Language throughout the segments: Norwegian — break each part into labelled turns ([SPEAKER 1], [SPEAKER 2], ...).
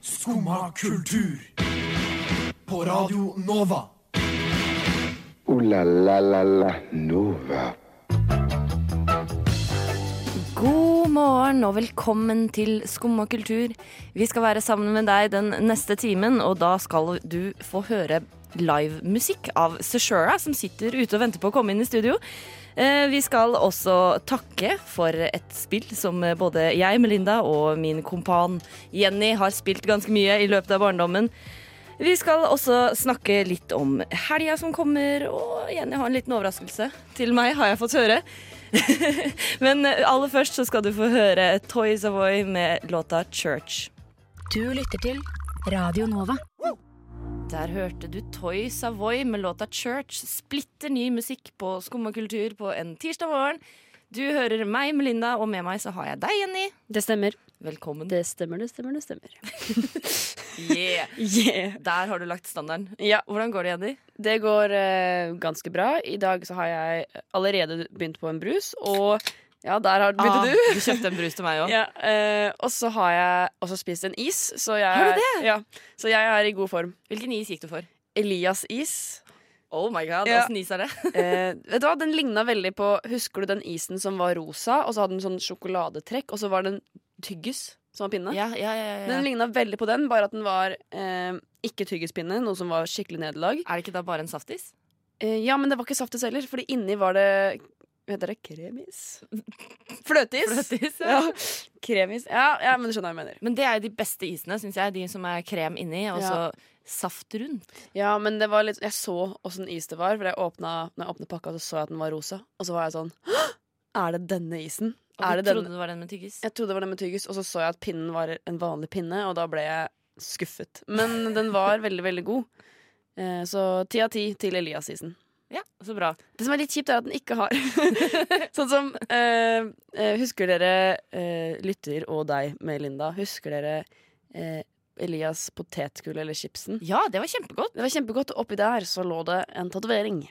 [SPEAKER 1] Skumma kultur. På Radio Nova.
[SPEAKER 2] Ooh la la la la Nova.
[SPEAKER 3] God morgen og velkommen til Skumma kultur. Vi skal være sammen med deg den neste timen, og da skal du få høre livemusikk av Seshura, som sitter ute og venter på å komme inn i studio. Eh, Vi skal også takke for et spill som både jeg, Melinda, og min kompan Jenny har spilt ganske mye i løpet av barndommen. Vi skal også snakke litt om helga som kommer, og Jenny har en liten overraskelse til meg, har jeg fått høre. Men eh, aller først så skal du få høre Toy Savoy med låta 'Church'.
[SPEAKER 4] Du lytter til Radio Nova.
[SPEAKER 3] Der hørte du Toy Savoy med låta 'Church'. Splitter ny musikk på Skum og kultur på en tirsdag morgen. Du hører meg, Melinda, og med meg så har jeg deg, Jenny.
[SPEAKER 5] Det stemmer.
[SPEAKER 3] Velkommen.
[SPEAKER 5] Det stemmer, det stemmer, det stemmer.
[SPEAKER 3] Yeah.
[SPEAKER 5] Yeah.
[SPEAKER 3] Der har du lagt standarden.
[SPEAKER 5] Ja,
[SPEAKER 3] Hvordan går det, Jenny?
[SPEAKER 5] det går eh, ganske bra. I dag så har jeg allerede begynt på en brus, og ja, der har
[SPEAKER 3] Ah,
[SPEAKER 5] begynte du.
[SPEAKER 3] du kjøpte en brus til meg òg.
[SPEAKER 5] Ja, eh, og så har jeg også spist en is, så jeg,
[SPEAKER 3] Har du
[SPEAKER 5] Ja, så jeg er i god form.
[SPEAKER 3] Hvilken is gikk du for?
[SPEAKER 5] Elias is.
[SPEAKER 3] Oh my god,
[SPEAKER 5] Ja.
[SPEAKER 3] åssen is er det?
[SPEAKER 5] Eh, vet du hva, Den ligna veldig på Husker du den isen som var rosa, og så hadde den sånn sjokoladetrekk, og så var den tyggis som var pinne?
[SPEAKER 3] Ja, ja, ja, ja.
[SPEAKER 5] Den ligna veldig på den, bare at den var eh, ikke tyggispinne, noe som var skikkelig nederlag.
[SPEAKER 3] Er det ikke da bare en saftis?
[SPEAKER 5] Eh, ja, men det var ikke saftis heller, fordi inni var det Hva heter det? Kremis? Fløteis?
[SPEAKER 3] Fløteis,
[SPEAKER 5] Ja.
[SPEAKER 3] ja.
[SPEAKER 5] Kremis. Ja, ja, men du skjønner hva jeg mener.
[SPEAKER 3] Men det er jo de beste isene, syns jeg. De som er krem inni, og
[SPEAKER 5] Ja.
[SPEAKER 3] så saft rundt.
[SPEAKER 5] Ja, men det var litt Jeg så åssen is det var, for jeg åpna, når jeg åpna pakka, så så jeg at den var rosa. Og så var jeg sånn «Hå! Er det denne isen?
[SPEAKER 3] Og
[SPEAKER 5] Er
[SPEAKER 3] du
[SPEAKER 5] det
[SPEAKER 3] trodde
[SPEAKER 5] den?
[SPEAKER 3] det var den med tyggis?
[SPEAKER 5] Jeg trodde det var den med tyggis, og så så jeg at pinnen var en vanlig pinne, og da ble jeg skuffet. Men den var veldig, veldig god. Eh, så ti av ti til Elias-isen.
[SPEAKER 3] Ja, så bra.
[SPEAKER 5] Det som er litt kjipt, er at den ikke har Sånn som eh, eh, Husker dere eh, lytter og deg med Linda? Husker dere eh, Elias potetgull eller chipsen?
[SPEAKER 3] Ja, det var kjempegodt.
[SPEAKER 5] Det var kjempegodt, og oppi der så lå det en tatovering.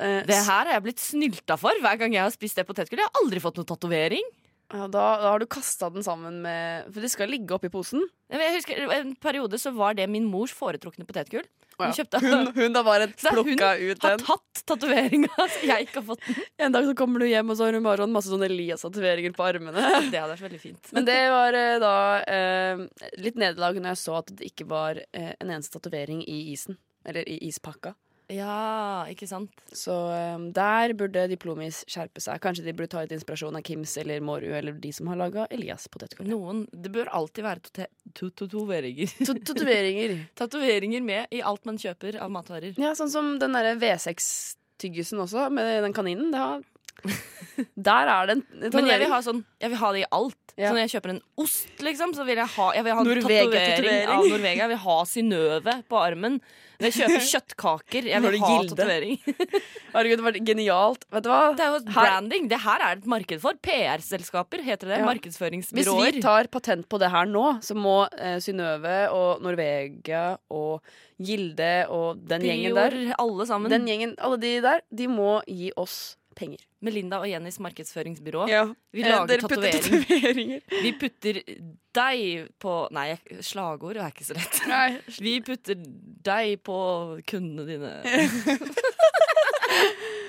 [SPEAKER 5] Eh,
[SPEAKER 3] Det her har jeg blitt snylta for hver gang jeg har spist det potetgullet. Jeg har aldri fått noen tatovering.
[SPEAKER 5] s- ja, da, da har du kasta den sammen med For det skal ligge oppi posen.
[SPEAKER 3] Men Jeg husker En periode så var det min mors foretrukne potetgull. Hun
[SPEAKER 5] Å ja.
[SPEAKER 3] kjøpte
[SPEAKER 5] Hun, hun da bare
[SPEAKER 3] Så hun
[SPEAKER 5] plukka ut
[SPEAKER 3] Har
[SPEAKER 5] den.
[SPEAKER 3] tatt tatoveringa, så jeg ikke har fått den.
[SPEAKER 5] En dag så kommer du hjem, og så har hun bare sånn masse sånne Elias-tatoveringer på armene.
[SPEAKER 3] Det hadde vært veldig fint.
[SPEAKER 5] Men det var eh, da eh, litt nederlag når jeg så at det ikke var eh, en eneste tatovering i isen. Eller i ispakka.
[SPEAKER 3] Ja, ikke sant?
[SPEAKER 5] Så eh, der burde Diplomis skjerpe seg. Kanskje de burde ta litt inspirasjon av Kims eller Mårud eller de som har laga Elias potetgull.
[SPEAKER 3] Noen Det bør alltid være tote- to- tatoveringer.
[SPEAKER 5] To- Tatoveringer.
[SPEAKER 3] Tatoveringer med i alt man kjøper av matvarer.
[SPEAKER 5] Ja, sånn som den derre V6-tyggisen også, med den kaninen. Det har der er det en
[SPEAKER 3] Men jeg vil
[SPEAKER 5] tatovering.
[SPEAKER 3] ha, sånn, jeg vil ha det i alt.
[SPEAKER 5] Ja.
[SPEAKER 3] Så når jeg kjøper en ost, liksom, så vil jeg ha, jeg vil ha en
[SPEAKER 5] Norvegia-tatovering.
[SPEAKER 3] tatovering av Norvegia. Jeg vil ha Synnøve på armen. Når jeg kjøper kjøttkaker, jeg vil
[SPEAKER 5] Når det
[SPEAKER 3] ha
[SPEAKER 5] gilde.
[SPEAKER 3] tatovering.
[SPEAKER 5] Herregud, det var genialt. Vet du hva?
[SPEAKER 3] Det er jo branding. Det her er det et marked for. PR-selskaper heter det.
[SPEAKER 5] Ja. Hvis
[SPEAKER 3] Markedsføringsbyråer.
[SPEAKER 5] vi tar patent på det her nå, så må eh, Synnøve og Norvegia og Gilde og den gjengen der
[SPEAKER 3] Prior, alle sammen.
[SPEAKER 5] Den gjengen, Alle de der, de må gi oss penger.
[SPEAKER 3] Melinda og Jennys markedsføringsbyrå. Vi
[SPEAKER 5] Eh,
[SPEAKER 3] lager
[SPEAKER 5] dere putter
[SPEAKER 3] tatovering.
[SPEAKER 5] tatoveringer.
[SPEAKER 3] Vi putter deg på Nei, jeg- slagord er ikke så lett.
[SPEAKER 5] Nei.
[SPEAKER 3] Vi putter deg på kundene dine.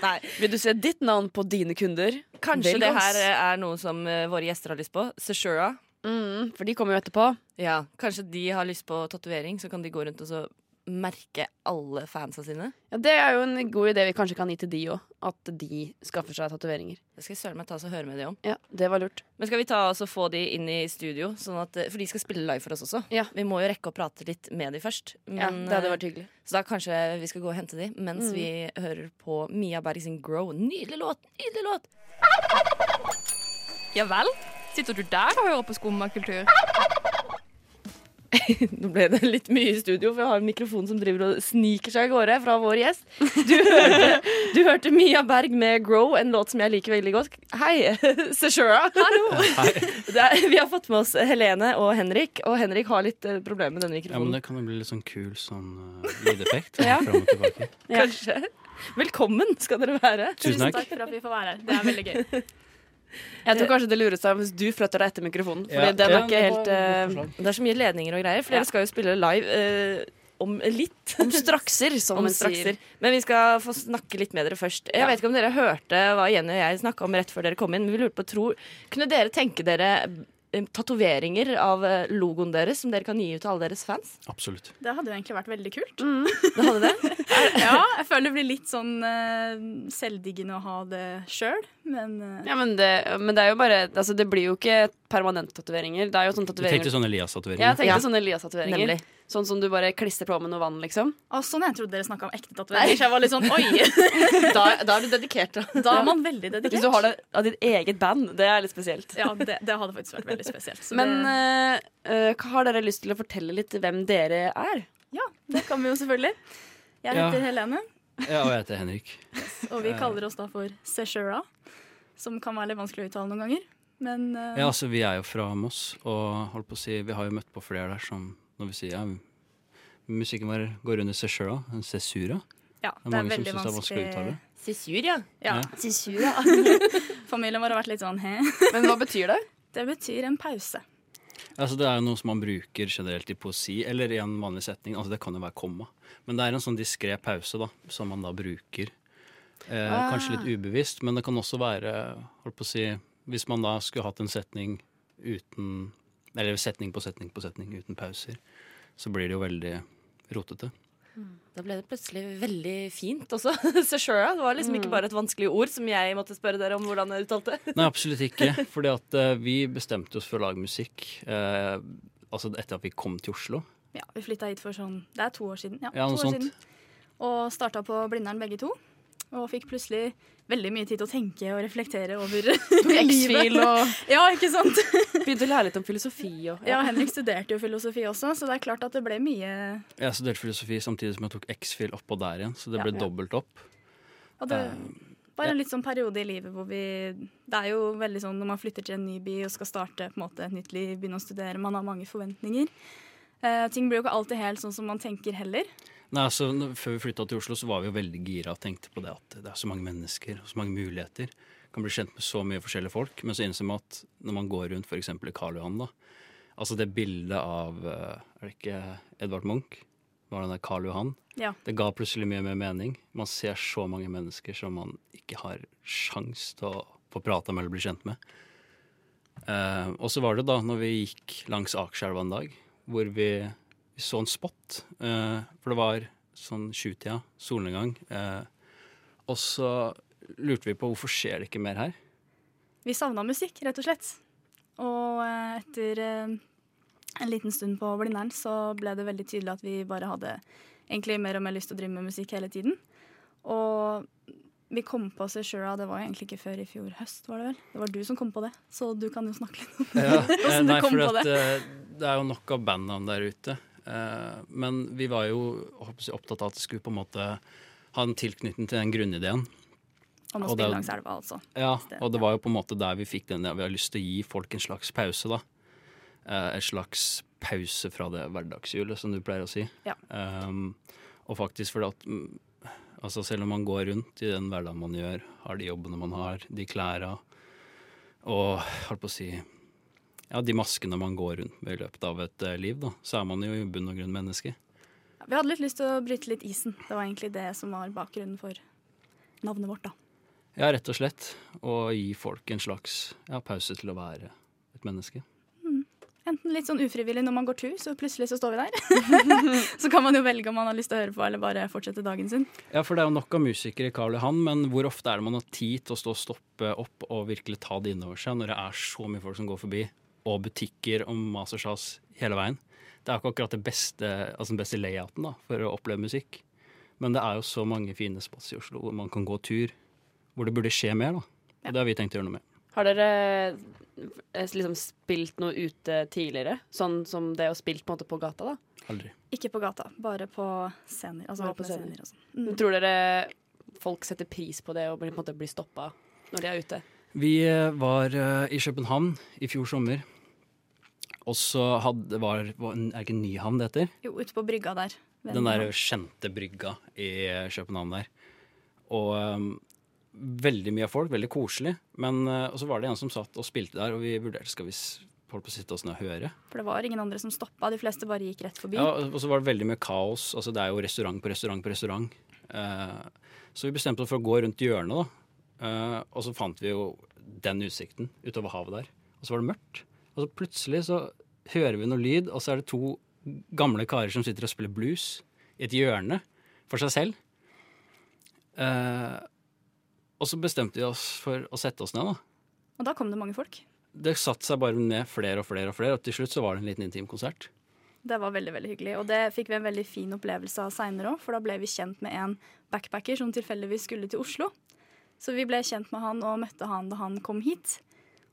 [SPEAKER 3] Nei.
[SPEAKER 5] Vil du se ditt navn på dine kunder?
[SPEAKER 3] Kanskje det
[SPEAKER 5] Velg oss.
[SPEAKER 3] her eh, er noe som eh, våre gjester har lyst på. Seshura.
[SPEAKER 5] Mm, for de kommer jo etterpå.
[SPEAKER 3] Ja, kanskje de har lyst på tatovering, så kan de gå rundt og så merke alle fansa sine.
[SPEAKER 5] Ja, det er jo en god idé vi kanskje kan gi til de òg. At de skaffer seg tatoveringer.
[SPEAKER 3] Det skal jeg søren meg ta oss og høre med de om.
[SPEAKER 5] Ja, det var lurt.
[SPEAKER 3] Men skal vi ta oss og få de inn i studio, sånn at, eh, for de skal spille live for oss også.
[SPEAKER 5] Ja.
[SPEAKER 3] Vi må jo rekke å prate litt med de først.
[SPEAKER 5] Ja,
[SPEAKER 3] Men,
[SPEAKER 5] det hadde
[SPEAKER 3] eh,
[SPEAKER 5] vært hyggelig.
[SPEAKER 3] Så da kanskje vi skal gå og hente de mens vi hører på Mia Berg sin Grow. Nydelig låt! Nydelig låt!
[SPEAKER 6] Ja vel? Sitter du der og hører på skummakultur?
[SPEAKER 3] Nå ble det litt mye i studio, for jeg har en mikrofon som driver og sniker seg av gårde fra vår gjest. Du hørte, du hørte Mia Berg med 'Grow', en låt som jeg liker veldig godt. Hei, Seshura. Hallo. Det er, vi har fått med oss Helene og Henrik, og Henrik har litt eh, problemer med denne
[SPEAKER 7] Ja,
[SPEAKER 3] mikrofonen.
[SPEAKER 7] men det kan jo bli litt sånn kul sånn uh, lydeffekt. sånn Fram og tilbake.
[SPEAKER 3] Kanskje. Velkommen skal dere være.
[SPEAKER 7] Tusen takk.
[SPEAKER 6] for at vi får være her. Det er veldig gøy.
[SPEAKER 5] Jeg tror kanskje det lureste er hvis du flytter deg etter mikrofonen. Fordi
[SPEAKER 8] Ja.
[SPEAKER 5] den
[SPEAKER 8] Ja,
[SPEAKER 5] er ikke helt eh,
[SPEAKER 3] Det er så mye ledninger og greier, for
[SPEAKER 5] Ja.
[SPEAKER 3] dere skal jo spille live eh, om litt.
[SPEAKER 5] om strakser, som
[SPEAKER 3] Om
[SPEAKER 5] en
[SPEAKER 3] strakser.
[SPEAKER 5] sier.
[SPEAKER 3] Men vi skal få snakke litt med dere først. Jeg
[SPEAKER 5] Ja.
[SPEAKER 3] vet ikke om dere hørte hva Jenny og jeg snakka om rett før dere kom inn, men vi lurte på tror, Kunne dere tenke dere eh, tatoveringer av eh, logoen deres som dere kan gi ut til alle deres fans?
[SPEAKER 7] Absolutt.
[SPEAKER 9] Det hadde jo egentlig vært veldig kult.
[SPEAKER 3] Det hadde det?
[SPEAKER 9] Ja, jeg føler det blir litt sånn eh, selvdiggende å ha det sjøl, men eh,
[SPEAKER 5] Ja, men det, men det er jo bare altså, Det blir jo ikke permanente tatoveringer. Det er jo sånne
[SPEAKER 7] Du tenkte
[SPEAKER 5] tatoveringer Ja,
[SPEAKER 7] sånn
[SPEAKER 5] jeg
[SPEAKER 7] Elias-tatoveringer?
[SPEAKER 5] tenkte
[SPEAKER 3] Ja.
[SPEAKER 5] sånne Elias-tatoveringer.
[SPEAKER 3] Nemlig.
[SPEAKER 5] Sånn som du bare klistrer på med noe vann, liksom.
[SPEAKER 9] å, Sånn jeg trodde dere snakka om ekte tatoveringer. så Jeg var litt sånn oi!
[SPEAKER 3] Da, er du dedikert, da.
[SPEAKER 9] Da er man veldig dedikert.
[SPEAKER 5] Hvis du har det av ditt eget band, det er litt spesielt.
[SPEAKER 9] Ja, det, det hadde faktisk vært veldig spesielt. Så
[SPEAKER 5] Men
[SPEAKER 9] det,
[SPEAKER 5] eh, eh, har dere lyst til å fortelle litt hvem dere er?
[SPEAKER 9] ja, eh, det kan vi jo selvfølgelig. Jeg
[SPEAKER 7] Ja.
[SPEAKER 9] heter Helene,
[SPEAKER 7] Ja, og jeg heter Henrik.
[SPEAKER 9] og vi kaller oss da for Seshura. Som kan være litt vanskelig å uttale noen ganger. Men eh,
[SPEAKER 7] Ja, altså, vi er jo fra Moss, og holdt på å si, vi har jo møtt på flere der som når vi sier ja, musikken vår går under sesura. en Sesura.
[SPEAKER 9] ja,
[SPEAKER 7] Det er mange som syns det er vanskelig å uttale.
[SPEAKER 3] Sisuria.
[SPEAKER 9] Ja.
[SPEAKER 7] Ja.
[SPEAKER 9] Familien vår har vært litt sånn he.
[SPEAKER 5] Men hva betyr det?
[SPEAKER 9] Det betyr en pause.
[SPEAKER 7] Altså, det er jo noe som man bruker generelt i poesi, eller i en vanlig setning. Altså, det kan jo være komma. Men det er en sånn diskré pause, da, som man da bruker. Eh, Kanskje litt ubevisst, men det kan også være holdt på å si, Hvis man da skulle hatt en setning uten Eller setning på setning på setning uten pauser, så blir det jo veldig rotete.
[SPEAKER 3] Da ble det plutselig veldig fint også. Seshura. Det var liksom ikke bare et vanskelig ord som jeg måtte spørre dere om hvordan jeg uttalte.
[SPEAKER 7] Nei, absolutt ikke. Fordi at eh, vi bestemte oss for å lage musikk eh, altså etter at vi kom til Oslo.
[SPEAKER 9] Ja, Vi flytta hit for sånn Det er to år siden. Ja,
[SPEAKER 7] Ja,
[SPEAKER 9] to
[SPEAKER 7] noe
[SPEAKER 9] år
[SPEAKER 7] sånt.
[SPEAKER 9] siden. Og starta på Blindern begge to. Og fikk plutselig veldig mye tid til å tenke og reflektere over
[SPEAKER 5] X-Fil
[SPEAKER 9] livet.
[SPEAKER 5] og
[SPEAKER 9] Ja, ikke sant?
[SPEAKER 5] Begynte å lære litt om filosofi og
[SPEAKER 9] Ja, Henrik studerte jo filosofi også, så det er klart at det ble mye
[SPEAKER 7] Jeg studerte filosofi samtidig som jeg tok X-fil oppå der igjen, så det
[SPEAKER 9] Ja.
[SPEAKER 7] ble dobbelt opp.
[SPEAKER 9] Og det
[SPEAKER 7] Eh,
[SPEAKER 9] var en litt sånn periode i livet hvor vi Det er jo veldig sånn når man flytter til en ny by og skal starte på en måte et nytt liv, begynne å studere, man har mange forventninger. Eh, ting blir jo ikke alltid helt sånn som man tenker heller.
[SPEAKER 7] Nei, altså, n- Før vi flytta til Oslo, så var vi jo veldig gira og tenkte på det at det er så mange mennesker og så mange muligheter. Kan bli kjent med så mye forskjellige folk. Men så innser man at når man går rundt f.eks. i Karl Johan, da Altså det bildet av eh, Er det ikke Edvard Munch? Var det der Karl Johan?
[SPEAKER 9] Ja.
[SPEAKER 7] Det ga plutselig mye mer mening. Man ser så mange mennesker som man ikke har sjans til å få prata med eller bli kjent med. Eh, og så var det da når vi gikk langs Akerselva en dag, hvor vi, vi så en spot. eh, for det var sånn sjutida, solnedgang. eh, og så lurte vi på hvorfor skjer det ikke mer her.
[SPEAKER 9] Vi savna musikk, rett og slett. Og eh, etter eh, en liten stund på Blindern så ble det veldig tydelig at vi bare hadde egentlig mer og mer lyst til å drive med musikk hele tiden. Og vi kom på Seshura, det var jo egentlig ikke før i fjor høst, var det vel? Det var du som kom på det, så du kan jo snakke litt om det.
[SPEAKER 7] Eh,
[SPEAKER 9] du
[SPEAKER 7] Nei,
[SPEAKER 9] kom
[SPEAKER 7] fordi
[SPEAKER 9] på
[SPEAKER 7] at, eh, det er jo nok av bandnavn der ute. Eh, men vi var jo håper jeg, opptatt av at det skulle på en måte ha en tilknytning til den grunnideen.
[SPEAKER 9] Om
[SPEAKER 7] Og det er
[SPEAKER 9] å spille
[SPEAKER 7] jo-
[SPEAKER 9] langs elva, altså.
[SPEAKER 7] Ja,
[SPEAKER 9] sted,
[SPEAKER 7] og det var jo på en måte der vi fikk den ja, Vi har lyst til å gi folk en slags pause, da. Eh, en slags pause fra det hverdagshjulet, som du pleier å si.
[SPEAKER 9] Ja.
[SPEAKER 7] Ehm, og faktisk fordi at mm, altså selv om man går rundt i den hverdagen man gjør, har de jobbene man har, de klærne og holdt på å si ja, de maskene man går rundt med i løpet av et eh, liv, da, så er man jo i bunn og grunn menneske.
[SPEAKER 9] Ja, Vi hadde litt lyst til å bryte litt isen. Det var egentlig det som var bakgrunnen for navnet vårt, da.
[SPEAKER 7] Ja, rett og slett. Og gi folk en slags ja, pause til å være et menneske.
[SPEAKER 9] Enten litt sånn ufrivillig når man går tur, så plutselig så står vi der. så kan man jo velge om man har lyst til å høre på eller bare fortsette dagen sin.
[SPEAKER 7] Ja, for det er jo nok av musikere i Karl Johan, men hvor ofte er det man har tid til å stå og stoppe opp og virkelig ta det innover seg, når det er så mye folk som går forbi, og butikker og mas og sjas hele veien? Det er jo ikke akkurat det beste, altså den beste layouten da, for å oppleve musikk. Men det er jo så mange fine spots i Oslo hvor man kan gå tur, hvor det burde skje mer. da. Og det har vi tenkt å gjøre noe med.
[SPEAKER 5] Har dere eh, liksom spilt noe ute tidligere? Sånn som det å spilt på en måte på gata, da?
[SPEAKER 7] Aldri.
[SPEAKER 9] Ikke på gata, bare på scener. Altså
[SPEAKER 5] Bare på
[SPEAKER 9] åpne
[SPEAKER 5] scener.
[SPEAKER 9] scener og sånn. Mm.
[SPEAKER 5] Tror dere folk setter pris på det og blir, på en måte blir stoppa når de er ute?
[SPEAKER 7] Vi eh, var eh, i København i fjor sommer. Og så hadde, var, var Er det ikke Nyhavn det heter?
[SPEAKER 9] Jo, ute på brygga der.
[SPEAKER 7] Den der kjente brygga i København der. Og um, veldig mye folk, veldig koselig. Men, eh, og så var det en som satt og spilte der, og vi vurderte skal vi s- holde på å sitte oss ned og høre.
[SPEAKER 9] For det var ingen andre som stoppa. De fleste bare gikk rett forbi.
[SPEAKER 7] Ja, og så var det veldig mye kaos. Altså, det er jo restaurant på restaurant på restaurant. Eh, så vi bestemte oss for å gå rundt hjørnet, da. Eh, og så fant vi jo den utsikten utover havet der. Og så var det mørkt. Og så plutselig så hører vi noe lyd, og så er det to gamle karer som sitter og spiller blues i et hjørne for seg selv. Eh, og så bestemte vi oss for å sette oss ned, da.
[SPEAKER 9] Og da kom det mange folk.
[SPEAKER 7] Det satte seg bare ned flere og flere, og flere, og til slutt så var det en liten intim konsert.
[SPEAKER 9] Det var veldig veldig hyggelig, og det fikk vi en veldig fin opplevelse av seinere òg, for da ble vi kjent med en backpacker som tilfeldigvis skulle til Oslo. Så vi ble kjent med han og møtte han da han kom hit.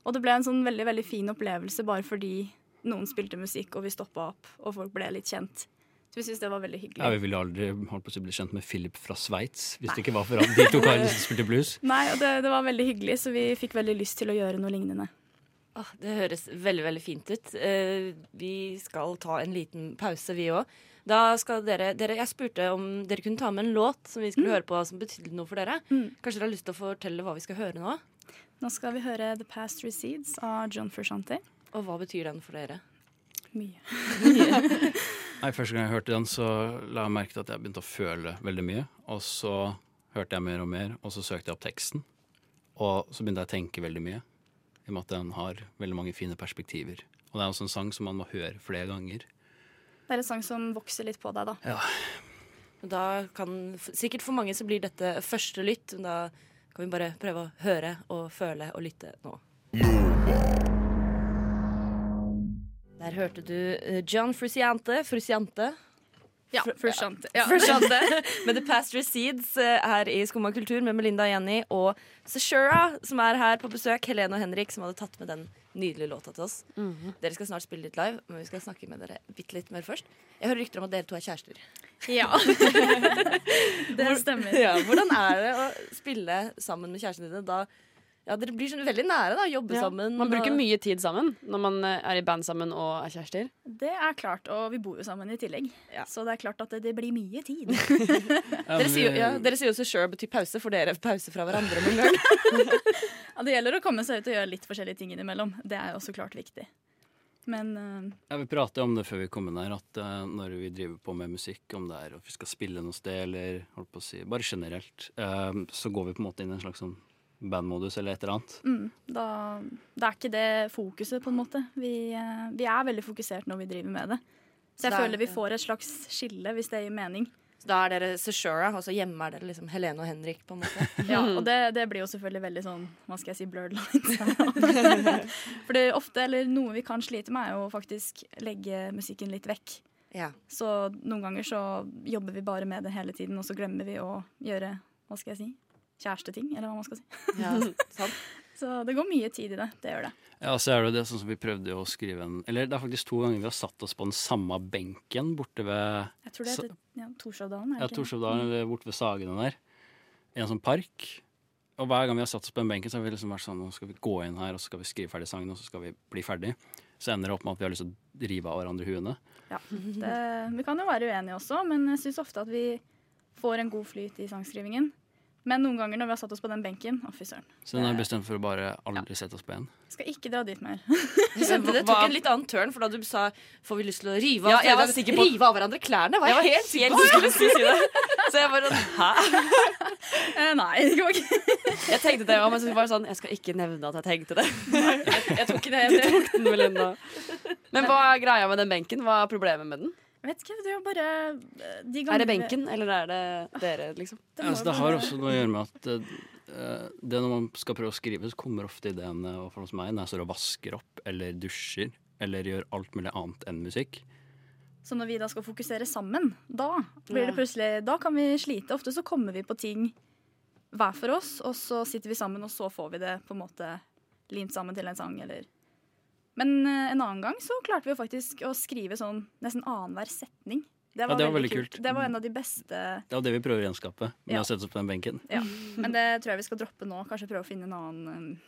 [SPEAKER 9] Og det ble en sånn veldig veldig fin opplevelse bare fordi noen spilte musikk, og vi stoppa opp, og folk ble litt kjent. Så vi syntes det var veldig hyggelig.
[SPEAKER 7] Ja, Vi ville aldri holdt på å bli kjent med Philip fra Sveits hvis det ikke var for at de to karene som spilte blues.
[SPEAKER 9] Nei, og det, det var veldig hyggelig, så vi fikk veldig lyst til å gjøre noe lignende.
[SPEAKER 3] Åh, Ah, det høres veldig veldig fint ut. Eh, vi skal ta en liten pause, vi òg. Da skal dere, dere Jeg spurte om dere kunne ta med en låt som vi skulle høre på som betydde noe for dere. Kanskje dere har lyst til å fortelle hva vi skal høre nå?
[SPEAKER 9] Nå skal vi høre The Past Recedes av John Frusciante.
[SPEAKER 3] Og hva betyr den for dere?
[SPEAKER 9] Mye.
[SPEAKER 7] Nei, Første gang jeg hørte den, så la jeg merke til at jeg begynte å føle veldig mye. Og så hørte jeg mer og mer, og så søkte jeg opp teksten. Og så begynte jeg å tenke veldig mye, i og med at den har veldig mange fine perspektiver. Og det er også en sang som man må høre flere ganger.
[SPEAKER 9] Det er en sang som vokser litt på deg, da.
[SPEAKER 3] Da kan, f- sikkert for mange så blir dette første lytt. men Da kan vi bare prøve å høre og føle og lytte nå. Der hørte du eh, John Frusiante, Frusiante
[SPEAKER 9] Ja, Frusciante. Ja.
[SPEAKER 3] sånn med The Past Recedes eh, her i Skumma kultur med Melinda og Jenny og Sashura, som er her på besøk. Helene og Henrik, som hadde tatt med den nydelige låta til oss.
[SPEAKER 5] Mhm.
[SPEAKER 3] Dere skal snart spille litt live, men vi skal snakke med dere bitte litt mer først. Jeg hører rykter om at dere to er kjærester.
[SPEAKER 9] Ja. det stemmer.
[SPEAKER 3] Ja, hvordan er det å spille sammen med kjæresten din? Da, ja, dere blir sånn veldig nære, da. Jobbe
[SPEAKER 5] Ja.
[SPEAKER 3] sammen.
[SPEAKER 5] Man bruker
[SPEAKER 3] og-
[SPEAKER 5] mye tid sammen når man eh, er i band sammen og er kjærester.
[SPEAKER 9] Det er klart, og vi bor jo sammen i tillegg. Så det er klart at det, det blir mye tid.
[SPEAKER 3] Dere sier, jo- ja, dere sier jo så sure betyr pause, for dere pause fra hverandre noen ganger.
[SPEAKER 9] Ja, det gjelder å komme seg ut og gjøre litt forskjellige ting innimellom. Det er jo også klart viktig. Men øh,
[SPEAKER 7] Ja, Vi prater om det før vi kom inn her, at eh, når vi driver på med musikk, om det er at vi skal spille noe sted, eller holdt på å si, bare generelt, eh, så går vi på en måte inn i en slags sånn bandmodus eller et eller annet.
[SPEAKER 9] mm, da, da er ikke det fokuset, på en måte. Vi, øh, vi er veldig fokusert når vi driver med det. Så jeg
[SPEAKER 3] Det er-
[SPEAKER 9] føler vi får et slags skille, hvis det gir mening.
[SPEAKER 3] Så Da er dere Sashura, og så hjemme er dere liksom Helene og Henrik, på en måte.
[SPEAKER 9] Ja, og det, det blir jo selvfølgelig veldig sånn, hva skal jeg si, blurred lines. For det er ofte, eller noe vi kan slite med, er jo faktisk legge musikken litt vekk.
[SPEAKER 3] Ja.
[SPEAKER 9] Så noen ganger så jobber vi bare med det hele tiden, og så glemmer vi å gjøre hva skal jeg si, kjæresteting. eller hva man skal si.
[SPEAKER 3] ja sant.
[SPEAKER 9] Så det går mye tid i det. det gjør det.
[SPEAKER 7] Ja, så er det jo det sånn som vi prøvde å skrive en Eller det er faktisk to ganger vi har satt oss på den samme benken borte ved
[SPEAKER 9] Jeg tror det
[SPEAKER 7] Så-
[SPEAKER 9] heter ja, Torshovdalen. er
[SPEAKER 7] ja,
[SPEAKER 9] det ikke det?
[SPEAKER 7] Torshovdalen eller borte ved Sagene der. I en sånn park. Og hver gang vi har satt oss på den benken, så har vi liksom vært sånn Nå skal vi gå inn her, og så skal vi skrive ferdig sangen, og så skal vi bli ferdig. Så ender det opp med at vi har lyst til å rive av hverandre huene.
[SPEAKER 9] Ja, det, vi kan jo være uenige også, men jeg syns ofte at vi får en god flyt i sangskrivingen. Men noen ganger når vi har satt oss på den benken Å, fy søren.
[SPEAKER 7] Så den
[SPEAKER 9] Eh,
[SPEAKER 7] er bestemt for å bare aldri sette oss på igjen.
[SPEAKER 9] Skal ikke dra dit mer.
[SPEAKER 3] Jeg skjønte det tok en litt annen tørn, for da du sa 'får vi lyst til å rive av,
[SPEAKER 5] Ja, jeg var
[SPEAKER 3] hverandre-
[SPEAKER 5] sikker på-
[SPEAKER 3] rive av hverandre klærne', var jeg, helt sikker på skulle si det. Så jeg bare sånn, hæ?
[SPEAKER 9] Eh, nei, det går ikke.
[SPEAKER 5] Jeg tenkte det, ja, men så var det sånn, jeg skal ikke nevne at jeg tenkte det. Jeg, jeg tok det, jeg tok den vel ennå. Men hva er greia med den benken? Hva er problemet med den?
[SPEAKER 9] Jeg vet ikke, det er jo bare eh,
[SPEAKER 5] Er
[SPEAKER 9] de gangene-
[SPEAKER 5] det benken, eller er det dere, liksom?
[SPEAKER 9] Det, må
[SPEAKER 7] Ja, så
[SPEAKER 9] jo
[SPEAKER 7] det har
[SPEAKER 9] være-
[SPEAKER 7] også noe å gjøre med at eh, det når man skal prøve å skrive, så kommer ofte ideene og for hos meg når jeg står og vasker opp eller dusjer eller gjør alt mulig annet enn musikk.
[SPEAKER 9] Så når vi da skal fokusere sammen, da blir det plutselig Da kan vi slite. Ofte så kommer vi på ting hver for oss, og så sitter vi sammen, og så får vi det på en måte limt sammen til en sang, eller Men eh, en annen gang så klarte vi jo faktisk å skrive sånn nesten annenhver setning.
[SPEAKER 7] Ja, det var veldig kult. Mm.
[SPEAKER 9] Det var en av de beste
[SPEAKER 7] Det er jo det vi prøver å gjenskape med
[SPEAKER 9] Ja.
[SPEAKER 7] å sette oss på den benken.
[SPEAKER 9] Ja. Men det tror jeg vi skal droppe nå. Kanskje prøve å finne en annen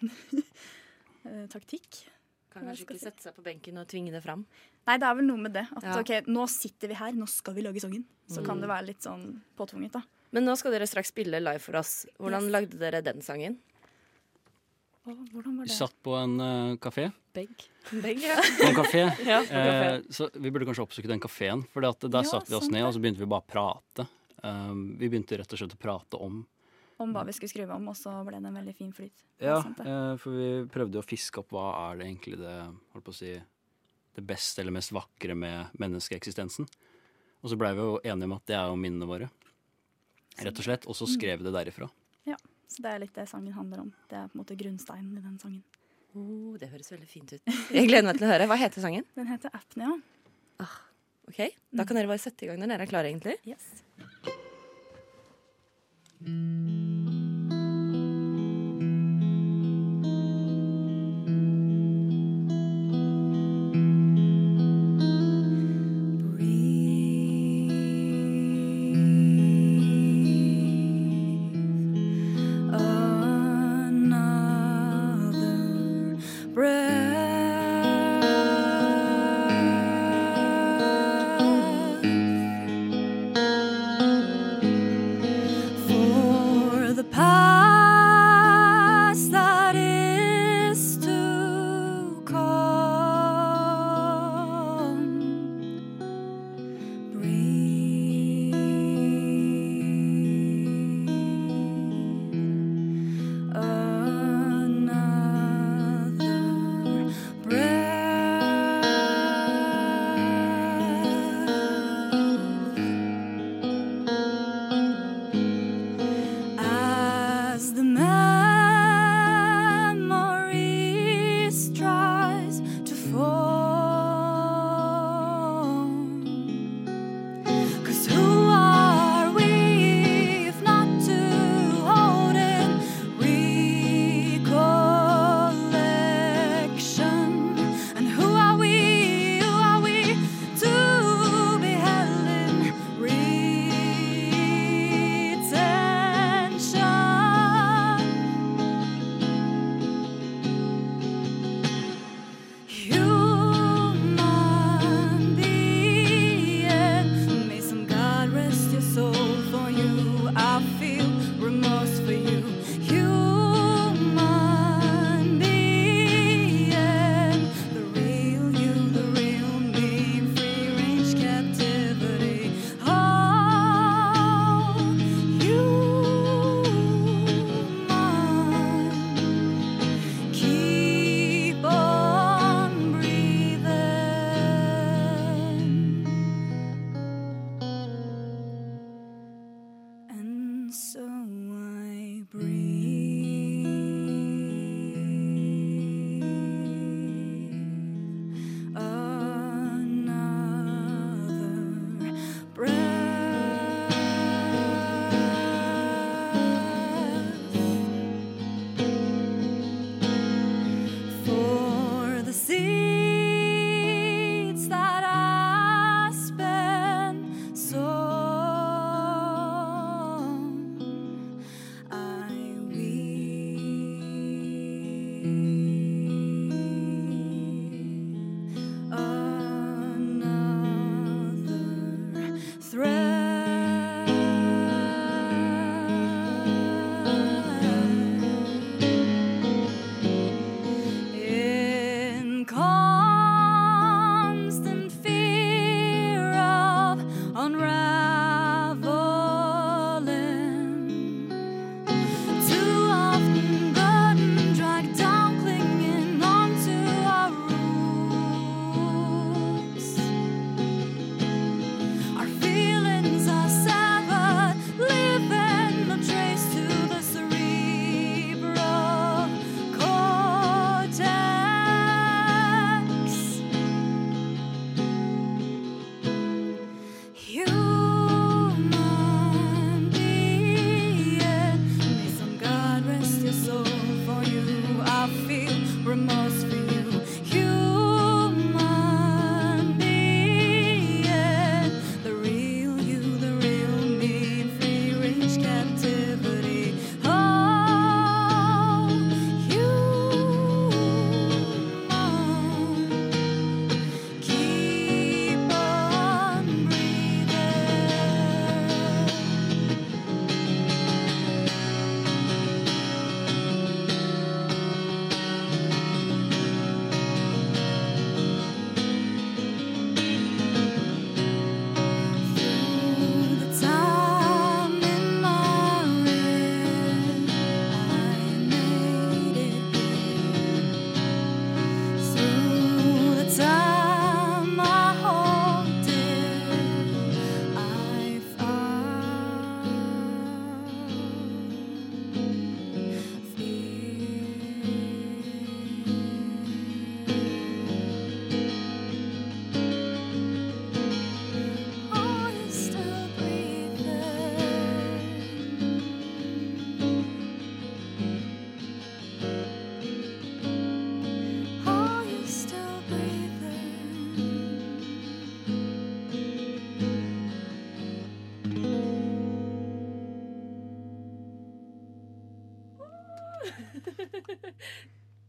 [SPEAKER 9] eh, taktikk.
[SPEAKER 3] Kan kanskje ikke sette seg på benken og tvinge det fram.
[SPEAKER 9] Nei, det er vel noe med det. At
[SPEAKER 3] Ja.
[SPEAKER 9] Mm. ok, nå sitter vi her, nå skal vi lage sangen. Så kan det være litt sånn påtvunget, da.
[SPEAKER 3] Men nå skal dere straks spille live for oss. Hvordan lagde dere den sangen?
[SPEAKER 9] Å, Hvordan var
[SPEAKER 7] Vi
[SPEAKER 9] det?
[SPEAKER 7] satt på en eh, kafé.
[SPEAKER 5] Begg.
[SPEAKER 7] På en kafé.
[SPEAKER 5] Ja, på
[SPEAKER 7] eh,
[SPEAKER 5] kafé.
[SPEAKER 7] så vi burde kanskje oppsøke den kafeen. For der
[SPEAKER 9] Ja,
[SPEAKER 7] satte vi oss
[SPEAKER 9] sant
[SPEAKER 7] ned,
[SPEAKER 9] det.
[SPEAKER 7] og så begynte vi bare å prate. Um, vi begynte rett og slett å prate om
[SPEAKER 9] Om hva vi skulle skrive om, og så ble det en veldig fin flyt.
[SPEAKER 7] Ja,
[SPEAKER 9] Sant det?
[SPEAKER 7] eh, for vi prøvde å fiske opp hva er det egentlig det holdt på å si, det beste eller mest vakre med menneskeeksistensen. Og så blei vi jo enige om at det er jo minnene våre.
[SPEAKER 9] Sånn.
[SPEAKER 7] Rett og slett. Og så
[SPEAKER 9] Mm.
[SPEAKER 7] skrev vi det derifra.
[SPEAKER 9] Så det er litt det sangen handler om. Det er på en måte grunnsteinen i den sangen.
[SPEAKER 3] Oh, det høres veldig fint ut. Jeg gleder meg til å høre. Hva heter sangen?
[SPEAKER 9] Den heter Apnea.
[SPEAKER 3] Ok, Da kan dere bare sette i gang når dere er klare, egentlig.
[SPEAKER 8] For
[SPEAKER 3] Oh,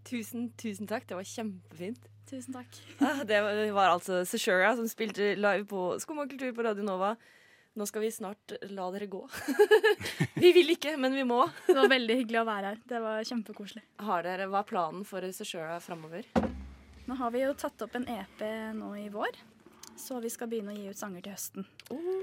[SPEAKER 3] Tusen, tusen takk. Det var kjempefint.
[SPEAKER 9] Tusen takk.
[SPEAKER 3] Ah, det var, det var altså Seshura som spilte live på Skumma kultur på Radio Nova. Nå skal vi snart la dere gå. vi vil ikke, men vi må.
[SPEAKER 9] Det var veldig hyggelig å være her. Det var kjempekoselig.
[SPEAKER 3] Har dere, Hva er planen for Seshura framover?
[SPEAKER 9] Nå har vi jo tatt opp en EP nå i vår, så vi skal begynne å gi ut sanger til høsten.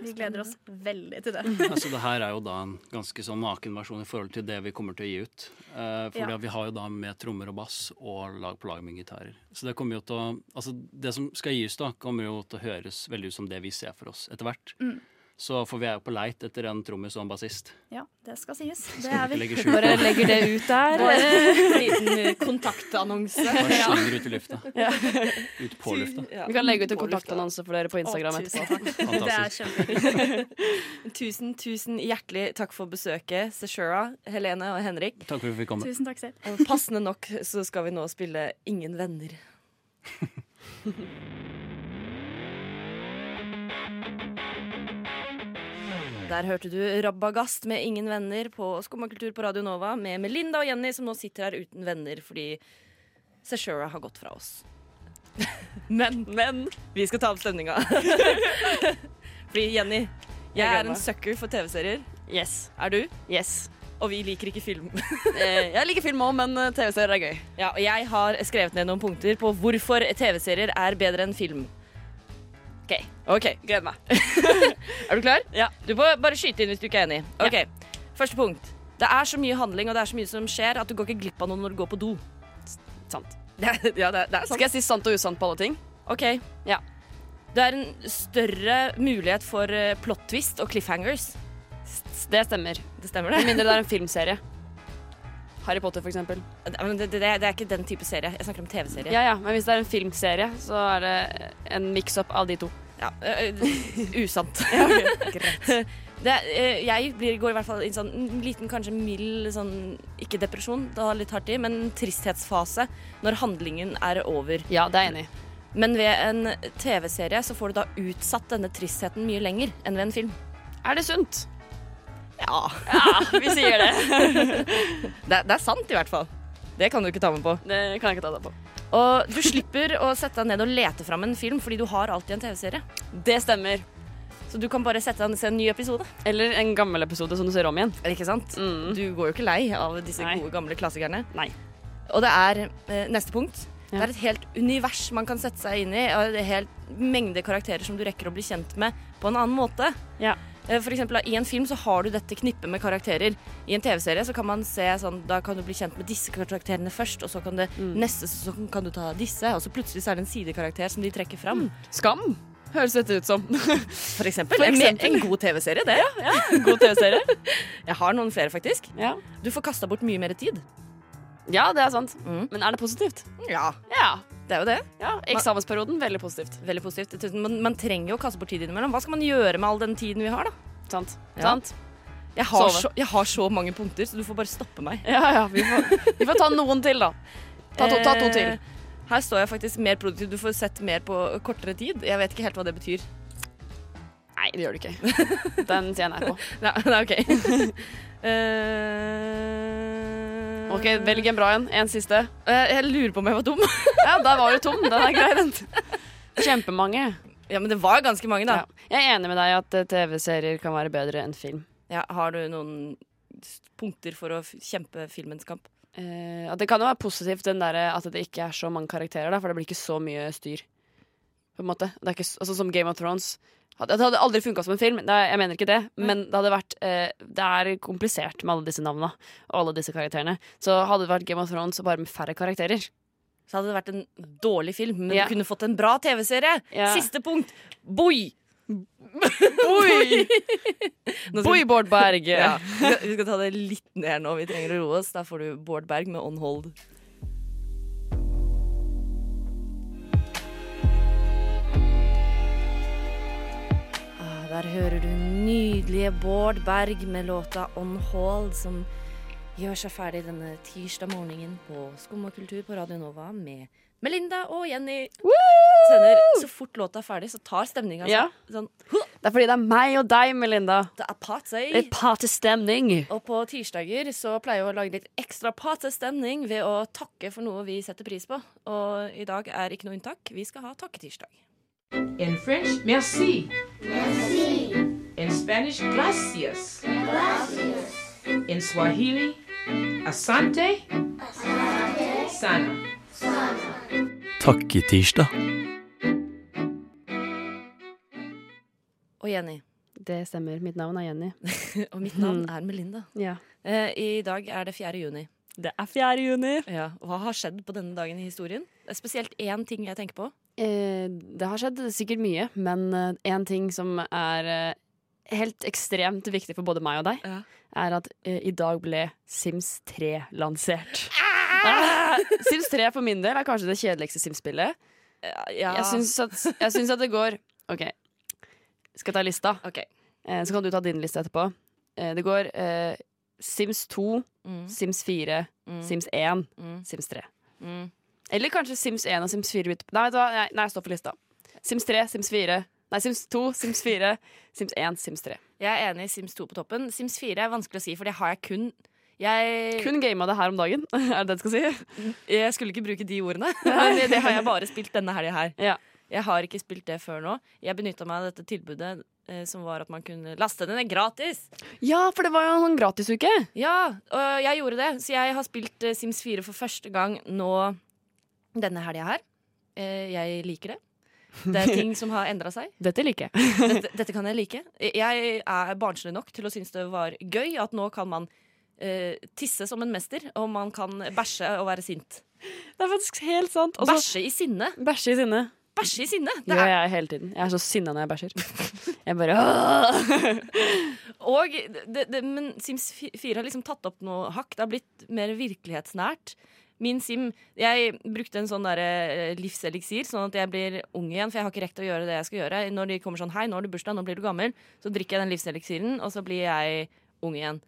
[SPEAKER 9] vi gleder oss veldig til det.
[SPEAKER 7] Altså, det her er jo da en ganske sånn naken versjon i forhold til det vi kommer til å gi ut. Eh, fordi
[SPEAKER 9] Ja.
[SPEAKER 7] at vi har jo da med trommer og bass og lag på lag med gitarer. Så det kommer jo til å Altså, det som skal gis da, kommer jo til å høres veldig ut som det vi ser for oss etter hvert.
[SPEAKER 9] Mm.
[SPEAKER 7] Så for vi er jo på leit etter en trommis og en bassist.
[SPEAKER 9] Ja, det skal sies. Det
[SPEAKER 7] Skal
[SPEAKER 9] er
[SPEAKER 7] vi ikke
[SPEAKER 9] vi.
[SPEAKER 7] legge skjul på.
[SPEAKER 3] Bare legger det ut der. En liten kontaktannonse.
[SPEAKER 7] Bare skynger ut i lufta. Ut på lufta.
[SPEAKER 5] Vi kan legge ut en kontaktannonse for dere på Instagram etterpå.
[SPEAKER 9] Det er
[SPEAKER 7] Fantastisk.
[SPEAKER 9] kjempe
[SPEAKER 3] Tusen, tusen hjertelig takk for besøket, Seshura, Helene og Henrik.
[SPEAKER 7] Takk for at vi fikk komme.
[SPEAKER 9] Tusen takk selv.
[SPEAKER 3] Og passende nok så skal vi nå spille Ingen venner. Der hørte du Rabagast med Ingen venner på Skumma kultur på Radio Nova med Melinda og Jenny, som nå sitter her uten venner fordi Seshura har gått fra oss. Men, vi skal ta opp stemninga. fordi Jenny, jeg
[SPEAKER 5] Jeg
[SPEAKER 3] er en
[SPEAKER 5] gleder meg.
[SPEAKER 3] sucker for TV-serier.
[SPEAKER 5] Yes.
[SPEAKER 3] Er du?
[SPEAKER 5] yes.
[SPEAKER 3] Og vi liker ikke film.
[SPEAKER 5] Eh, Jeg liker film òg, men eh, TV-serier er gøy.
[SPEAKER 3] Ja, og jeg har skrevet ned noen punkter på hvorfor TV-serier er bedre enn film. OK. ok.
[SPEAKER 5] Gleder meg.
[SPEAKER 3] Er du klar?
[SPEAKER 5] Ja.
[SPEAKER 3] Du må bare skyte inn hvis du ikke er enig. Ok, Første punkt. Det er så mye handling og det er så mye som skjer at du går ikke glipp av noe når du går på do.
[SPEAKER 5] Sant.
[SPEAKER 3] Det, er- ja, det, er- det er sant.
[SPEAKER 5] Skal jeg si sant og usant på alle ting?
[SPEAKER 3] OK.
[SPEAKER 5] Ja.
[SPEAKER 3] Det er en større mulighet for eh, plot twist og cliffhangers.
[SPEAKER 5] Det stemmer.
[SPEAKER 3] Det stemmer,
[SPEAKER 5] Med
[SPEAKER 3] det?
[SPEAKER 5] mindre det er en filmserie. Harry Potter, for eksempel.
[SPEAKER 3] Men det, det, det er ikke den type serie. Jeg snakker om TV-serie.
[SPEAKER 5] Ja, ja, men hvis det er en filmserie, så er det en mix-up av de to.
[SPEAKER 3] Ja, ø- ø- Eh, usant. Det, ø, jeg blir, går i hvert fall i en sånn liten, kanskje mild sånn, Ikke depresjon, det har litt hardt i, men tristhetsfase når handlingen er over.
[SPEAKER 5] Ja, det er jeg enig i.
[SPEAKER 3] Men ved en TV-serie så får du da utsatt denne tristheten mye lenger enn ved en film.
[SPEAKER 5] Er det sunt?
[SPEAKER 3] Ja,
[SPEAKER 5] Vi sier det.
[SPEAKER 3] Det, det er sant, i hvert fall. Det kan du ikke ta med på.
[SPEAKER 5] Det kan jeg ikke ta deg på.
[SPEAKER 3] Og du slipper å sette deg ned og lete fram en film, fordi du har alltid en TV-serie.
[SPEAKER 5] Det stemmer.
[SPEAKER 3] Så du kan bare sette deg ned og se en ny episode.
[SPEAKER 5] Eller en gammel episode som du ser om igjen.
[SPEAKER 3] Ikke sant?
[SPEAKER 5] Mm.
[SPEAKER 3] Du går jo ikke lei av disse
[SPEAKER 5] Nei.
[SPEAKER 3] gode, gamle klassikerne.
[SPEAKER 5] Nei.
[SPEAKER 3] Og det er eh, neste punkt. Det
[SPEAKER 5] Ja.
[SPEAKER 3] er et helt univers man kan sette seg inn i. Og det er helt mengde karakterer som du rekker å bli kjent med på en annen måte.
[SPEAKER 5] Ja.
[SPEAKER 3] Eh, For eksempel, I en film så har du dette knippet med karakterer. I en TV-serie så kan man se sånn, da kan du bli kjent med disse karakterene først, og så kan det
[SPEAKER 5] Mm.
[SPEAKER 3] neste sesong kan du ta disse, og så plutselig så er det en sidekarakter som de trekker fram.
[SPEAKER 5] Skam høres dette ut som.
[SPEAKER 3] For eksempel.
[SPEAKER 5] Mm. For
[SPEAKER 3] En-
[SPEAKER 5] eksempel.
[SPEAKER 3] En god TV-serie, det.
[SPEAKER 5] God TV-serie.
[SPEAKER 3] Jeg har noen flere, faktisk.
[SPEAKER 5] Ja.
[SPEAKER 3] Du får kasta bort mye mer tid.
[SPEAKER 5] ja, det er sant.
[SPEAKER 3] Mm.
[SPEAKER 5] Men er det positivt?
[SPEAKER 3] Ja.
[SPEAKER 5] Ja.
[SPEAKER 3] Det er jo det.
[SPEAKER 5] ja. Eksamensperioden, veldig positivt.
[SPEAKER 3] Veldig positivt. Jeg tror Man, man trenger jo å kaste bort tid innimellom. Hva skal man gjøre med all den tiden vi har, da?
[SPEAKER 5] Sant.
[SPEAKER 3] Ja.
[SPEAKER 5] Sant?
[SPEAKER 3] Jeg har,
[SPEAKER 5] Sove.
[SPEAKER 3] så, jeg har så mange punkter, så du får bare stoppe meg.
[SPEAKER 5] Ja, ja. Vi får, vi får ta noen til, da. Ta to, ta to til.
[SPEAKER 3] Eh, Her står jeg faktisk mer produktiv. Du får sett mer på kortere tid. Jeg vet ikke helt hva det betyr.
[SPEAKER 5] Nei, det gjør du ikke. Den sier jeg nei på.
[SPEAKER 3] Nei, nei OK. Eh,
[SPEAKER 5] OK, velg en bra en. En siste.
[SPEAKER 3] Eh, Jeg lurer på om jeg var dum.
[SPEAKER 5] Ja, der var du tom. Den er grei, den. Kjempemange.
[SPEAKER 3] Ja, men det var ganske mange, da.
[SPEAKER 5] Ja. Jeg er enig med deg at eh, TV-serier kan være bedre enn film.
[SPEAKER 3] Ja, har du noen s- punkter for å f- kjempe filmens kamp?
[SPEAKER 5] Eh, at det kan jo være positivt den der, at det ikke er så mange karakterer, da, for det blir ikke så mye styr. På en måte. Det er ikke, s- altså, som Game of Thrones. Had- Det hadde aldri funka som en film, det, er- jeg mener ikke det. Men det hadde vært eh, Det er komplisert med alle disse navna og alle disse karakterene. Så hadde det vært Game of Thrones bare med færre karakterer.
[SPEAKER 3] Så hadde det vært en dårlig film, men
[SPEAKER 5] Ja.
[SPEAKER 3] du kunne fått en bra TV-serie.
[SPEAKER 5] Ja.
[SPEAKER 3] Siste punkt. Boy!
[SPEAKER 5] Oi!
[SPEAKER 3] Nå skal
[SPEAKER 5] Boy,
[SPEAKER 3] vi-
[SPEAKER 5] Bård Berg!
[SPEAKER 3] Ja. Vi skal- Vi skal ta det litt ned nå. Vi trenger å roe oss. Da får du Bård Berg med On Hold. Ah, Der hører du nydelige Bård Berg med låta On Hold, som gjør seg ferdig denne tirsdag morgenen på Skum og kultur på Radio Nova med Melinda og Jenny. Sender, så fort låta er ferdig, så tar stemninga seg.
[SPEAKER 5] Ja.
[SPEAKER 3] Sånn, «Huh!»
[SPEAKER 5] Det er fordi det er meg og deg, Melinda.
[SPEAKER 3] Det er partøy.
[SPEAKER 5] Det er partystemning.
[SPEAKER 3] Og på tirsdager så pleier vi å lage litt ekstra partystemning ved å takke for noe vi setter pris på. Og i dag er ikke noe unntak. Vi skal ha takketirsdag.
[SPEAKER 8] In French, merci. Merci. In Spanish, gracias. Gracias. In Swahili, asante. Asante. Sana.
[SPEAKER 7] Takketirsdag.
[SPEAKER 3] Og Jenny.
[SPEAKER 5] Det stemmer. Mitt navn er Jenny.
[SPEAKER 3] Og mitt navn er Melinda.
[SPEAKER 5] Ja.
[SPEAKER 3] Eh, I dag er det 4. juni.
[SPEAKER 5] Det er 4. juni.
[SPEAKER 3] Ja, Hva har skjedd på denne dagen i historien? Det er Spesielt én ting jeg tenker på.
[SPEAKER 5] Eh, det har skjedd sikkert mye, men én ting som er eh, helt ekstremt viktig for både meg og deg,
[SPEAKER 3] Ja.
[SPEAKER 5] er at eh, i dag ble Sims 3 lansert. Ah! Sims 3 for min del er kanskje det kjedeligste Sims-spillet. Jeg, syns at, jeg syns at det går OK, skal jeg ta lista?
[SPEAKER 3] Ok.
[SPEAKER 5] Eh, så kan du ta din liste etterpå. Eh, det går eh, Sims 2,
[SPEAKER 3] Mm,
[SPEAKER 5] Sims 4,
[SPEAKER 3] mm,
[SPEAKER 5] Sims 1,
[SPEAKER 3] mm,
[SPEAKER 5] Sims 3.
[SPEAKER 3] mm.
[SPEAKER 5] Eller kanskje Sims 1 og Sims 4 bytte Nei, vet du hva? Nei, nei, jeg står for lista. Sims 3, Sims 4. Nei, Sims 2, Sims 4, Sims 1, Sims 3.
[SPEAKER 3] Jeg er enig i Sims 2 på toppen. Sims 4 er vanskelig å si, for det har jeg kun jeg,
[SPEAKER 5] Kun gama det her om dagen, er det det du skal si?
[SPEAKER 3] jeg skulle ikke bruke de ordene. Nei, det har jeg bare spilt denne helga her.
[SPEAKER 5] Ja.
[SPEAKER 3] Jeg har ikke spilt det før nå. Jeg benytta meg av dette tilbudet eh, som var at man kunne laste den ned gratis.
[SPEAKER 5] Ja, for det var jo en sånn gratisuke.
[SPEAKER 3] Ja, og jeg gjorde det. Så jeg har spilt eh, Sims 4 for første gang nå denne helga her. Eh, Jeg liker det. Det er ting som har endra seg.
[SPEAKER 5] Dette liker jeg.
[SPEAKER 3] Dette, dette kan jeg like. Jeg er barnslig nok til å synes det var gøy at nå kan man eh, tisse som en mester, og man kan bæsje og være sint.
[SPEAKER 5] Det er faktisk helt sant. Og så
[SPEAKER 3] Bæsje i sinne!
[SPEAKER 5] bæsje i sinne.
[SPEAKER 3] Bæsje i sinne!
[SPEAKER 5] Det
[SPEAKER 3] Det
[SPEAKER 5] gjør
[SPEAKER 3] er,
[SPEAKER 5] jeg hele tiden. Jeg er så sinna når jeg bæsjer. Jeg bare «Åh!»
[SPEAKER 3] og det, det, men Sims 4 har liksom tatt opp noe hakk. Det har blitt mer virkelighetsnært. Min sim Jeg brukte en sånn der, eh, livseliksir, sånn at jeg blir ung igjen. For jeg har ikke rekt å gjøre det jeg skal gjøre. Når de kommer sånn 'Hei, nå har du bursdag, nå blir du gammel', så drikker jeg den livseliksiren, og så blir jeg ung igjen.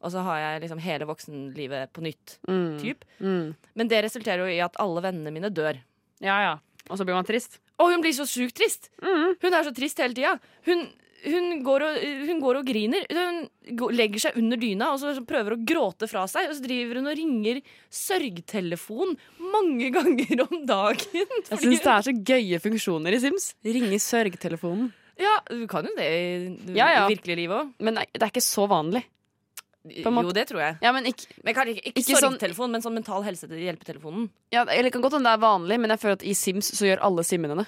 [SPEAKER 3] Og så har jeg liksom hele voksenlivet på nytt.
[SPEAKER 5] Mm.
[SPEAKER 3] Typ.
[SPEAKER 5] Mm.
[SPEAKER 3] Men det resulterer jo i at alle vennene mine dør.
[SPEAKER 5] Ja, ja. Og så blir man trist.
[SPEAKER 3] Og hun blir så sjukt trist!
[SPEAKER 5] Mm.
[SPEAKER 3] Hun er så trist hele tida. Hun, hun, går og, hun går og griner. Hun går- legger seg under dyna og så prøver å gråte fra seg. Og så driver hun og ringer sørgtelefon mange ganger om dagen.
[SPEAKER 5] Jeg syns det er så gøye funksjoner i Sims. Ringe sørgtelefonen.
[SPEAKER 3] Ja, du kan jo det i,
[SPEAKER 5] Ja, ja.
[SPEAKER 3] i virkelige livet òg.
[SPEAKER 5] Men det er ikke så vanlig. På en måte.
[SPEAKER 3] Jo, det tror jeg.
[SPEAKER 5] Ja, men ikke,
[SPEAKER 3] Men kan, ikke, ikke,
[SPEAKER 5] Ikke sånn-
[SPEAKER 3] sorgtelefon, men sånn mental helse-hjelpetelefonen.
[SPEAKER 5] Ja, eller det kan godt hende det er vanlig, men jeg føler at i Sims så gjør alle simmene det.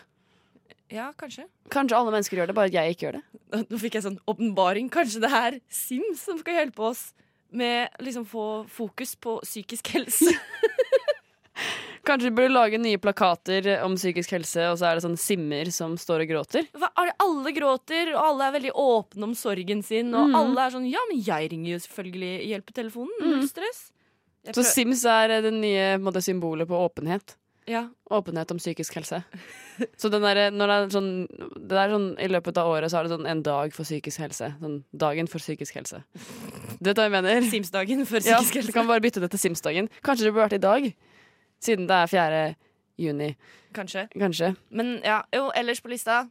[SPEAKER 3] Ja, kanskje.
[SPEAKER 5] Kanskje alle mennesker gjør det, bare at jeg ikke gjør det.
[SPEAKER 3] Nå fikk jeg sånn åpenbaring. Kanskje det er Sims som skal hjelpe oss med liksom få fokus på psykisk helse.
[SPEAKER 5] Kanskje vi burde lage nye plakater om psykisk helse, og så er det sånn simmer som står og gråter.
[SPEAKER 3] Hva er det? Alle gråter, og alle er veldig åpne om sorgen sin.
[SPEAKER 5] Mm.
[SPEAKER 3] Og alle er sånn 'ja, men jeg ringer jo selvfølgelig hjelpetelefonen'. Null stress. Jeg
[SPEAKER 5] Mm. Så
[SPEAKER 3] prøv-
[SPEAKER 5] Sims er eh, det nye på en måte, symbolet på åpenhet.
[SPEAKER 3] ja.
[SPEAKER 5] Åpenhet om psykisk helse. Så den der, når det er sånn, det er sånn I løpet av året så er det sånn en dag for psykisk helse. Sånn dagen for psykisk helse. Du vet hva jeg mener?
[SPEAKER 3] Sims-dagen for
[SPEAKER 5] Ja,
[SPEAKER 3] psykisk
[SPEAKER 5] du
[SPEAKER 3] helse.
[SPEAKER 5] kan bare bytte det til Sims-dagen. Kanskje det burde vært i dag, siden det er 4. juni.
[SPEAKER 3] Kanskje.
[SPEAKER 5] Kanskje.
[SPEAKER 3] Men ja, jo, ellers på lista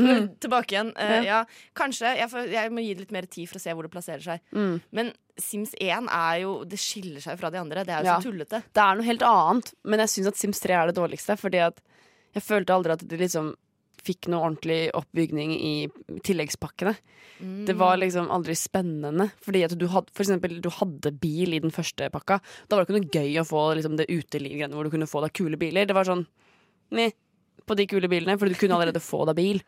[SPEAKER 5] Mm.
[SPEAKER 3] Tilbake igjen. Eh, ja. Kanskje. Jeg, får, jeg må gi det litt mer tid for å se hvor det plasserer seg.
[SPEAKER 5] Mm.
[SPEAKER 3] Men Sims 1 er jo Det skiller seg fra de andre. Det er jo
[SPEAKER 5] Ja.
[SPEAKER 3] så tullete.
[SPEAKER 5] Det er noe helt annet, men jeg syns at Sims 3 er det dårligste. Fordi at jeg følte aldri at de liksom fikk noe ordentlig oppbygning i tilleggspakkene. Det var liksom aldri spennende. Fordi at du hadde, for eksempel, du hadde bil i den første pakka. Da var det ikke noe gøy å få liksom, det utelivgreiene hvor du kunne få deg kule biler. Det var sånn meh på de kule bilene, for du kunne allerede få deg bil.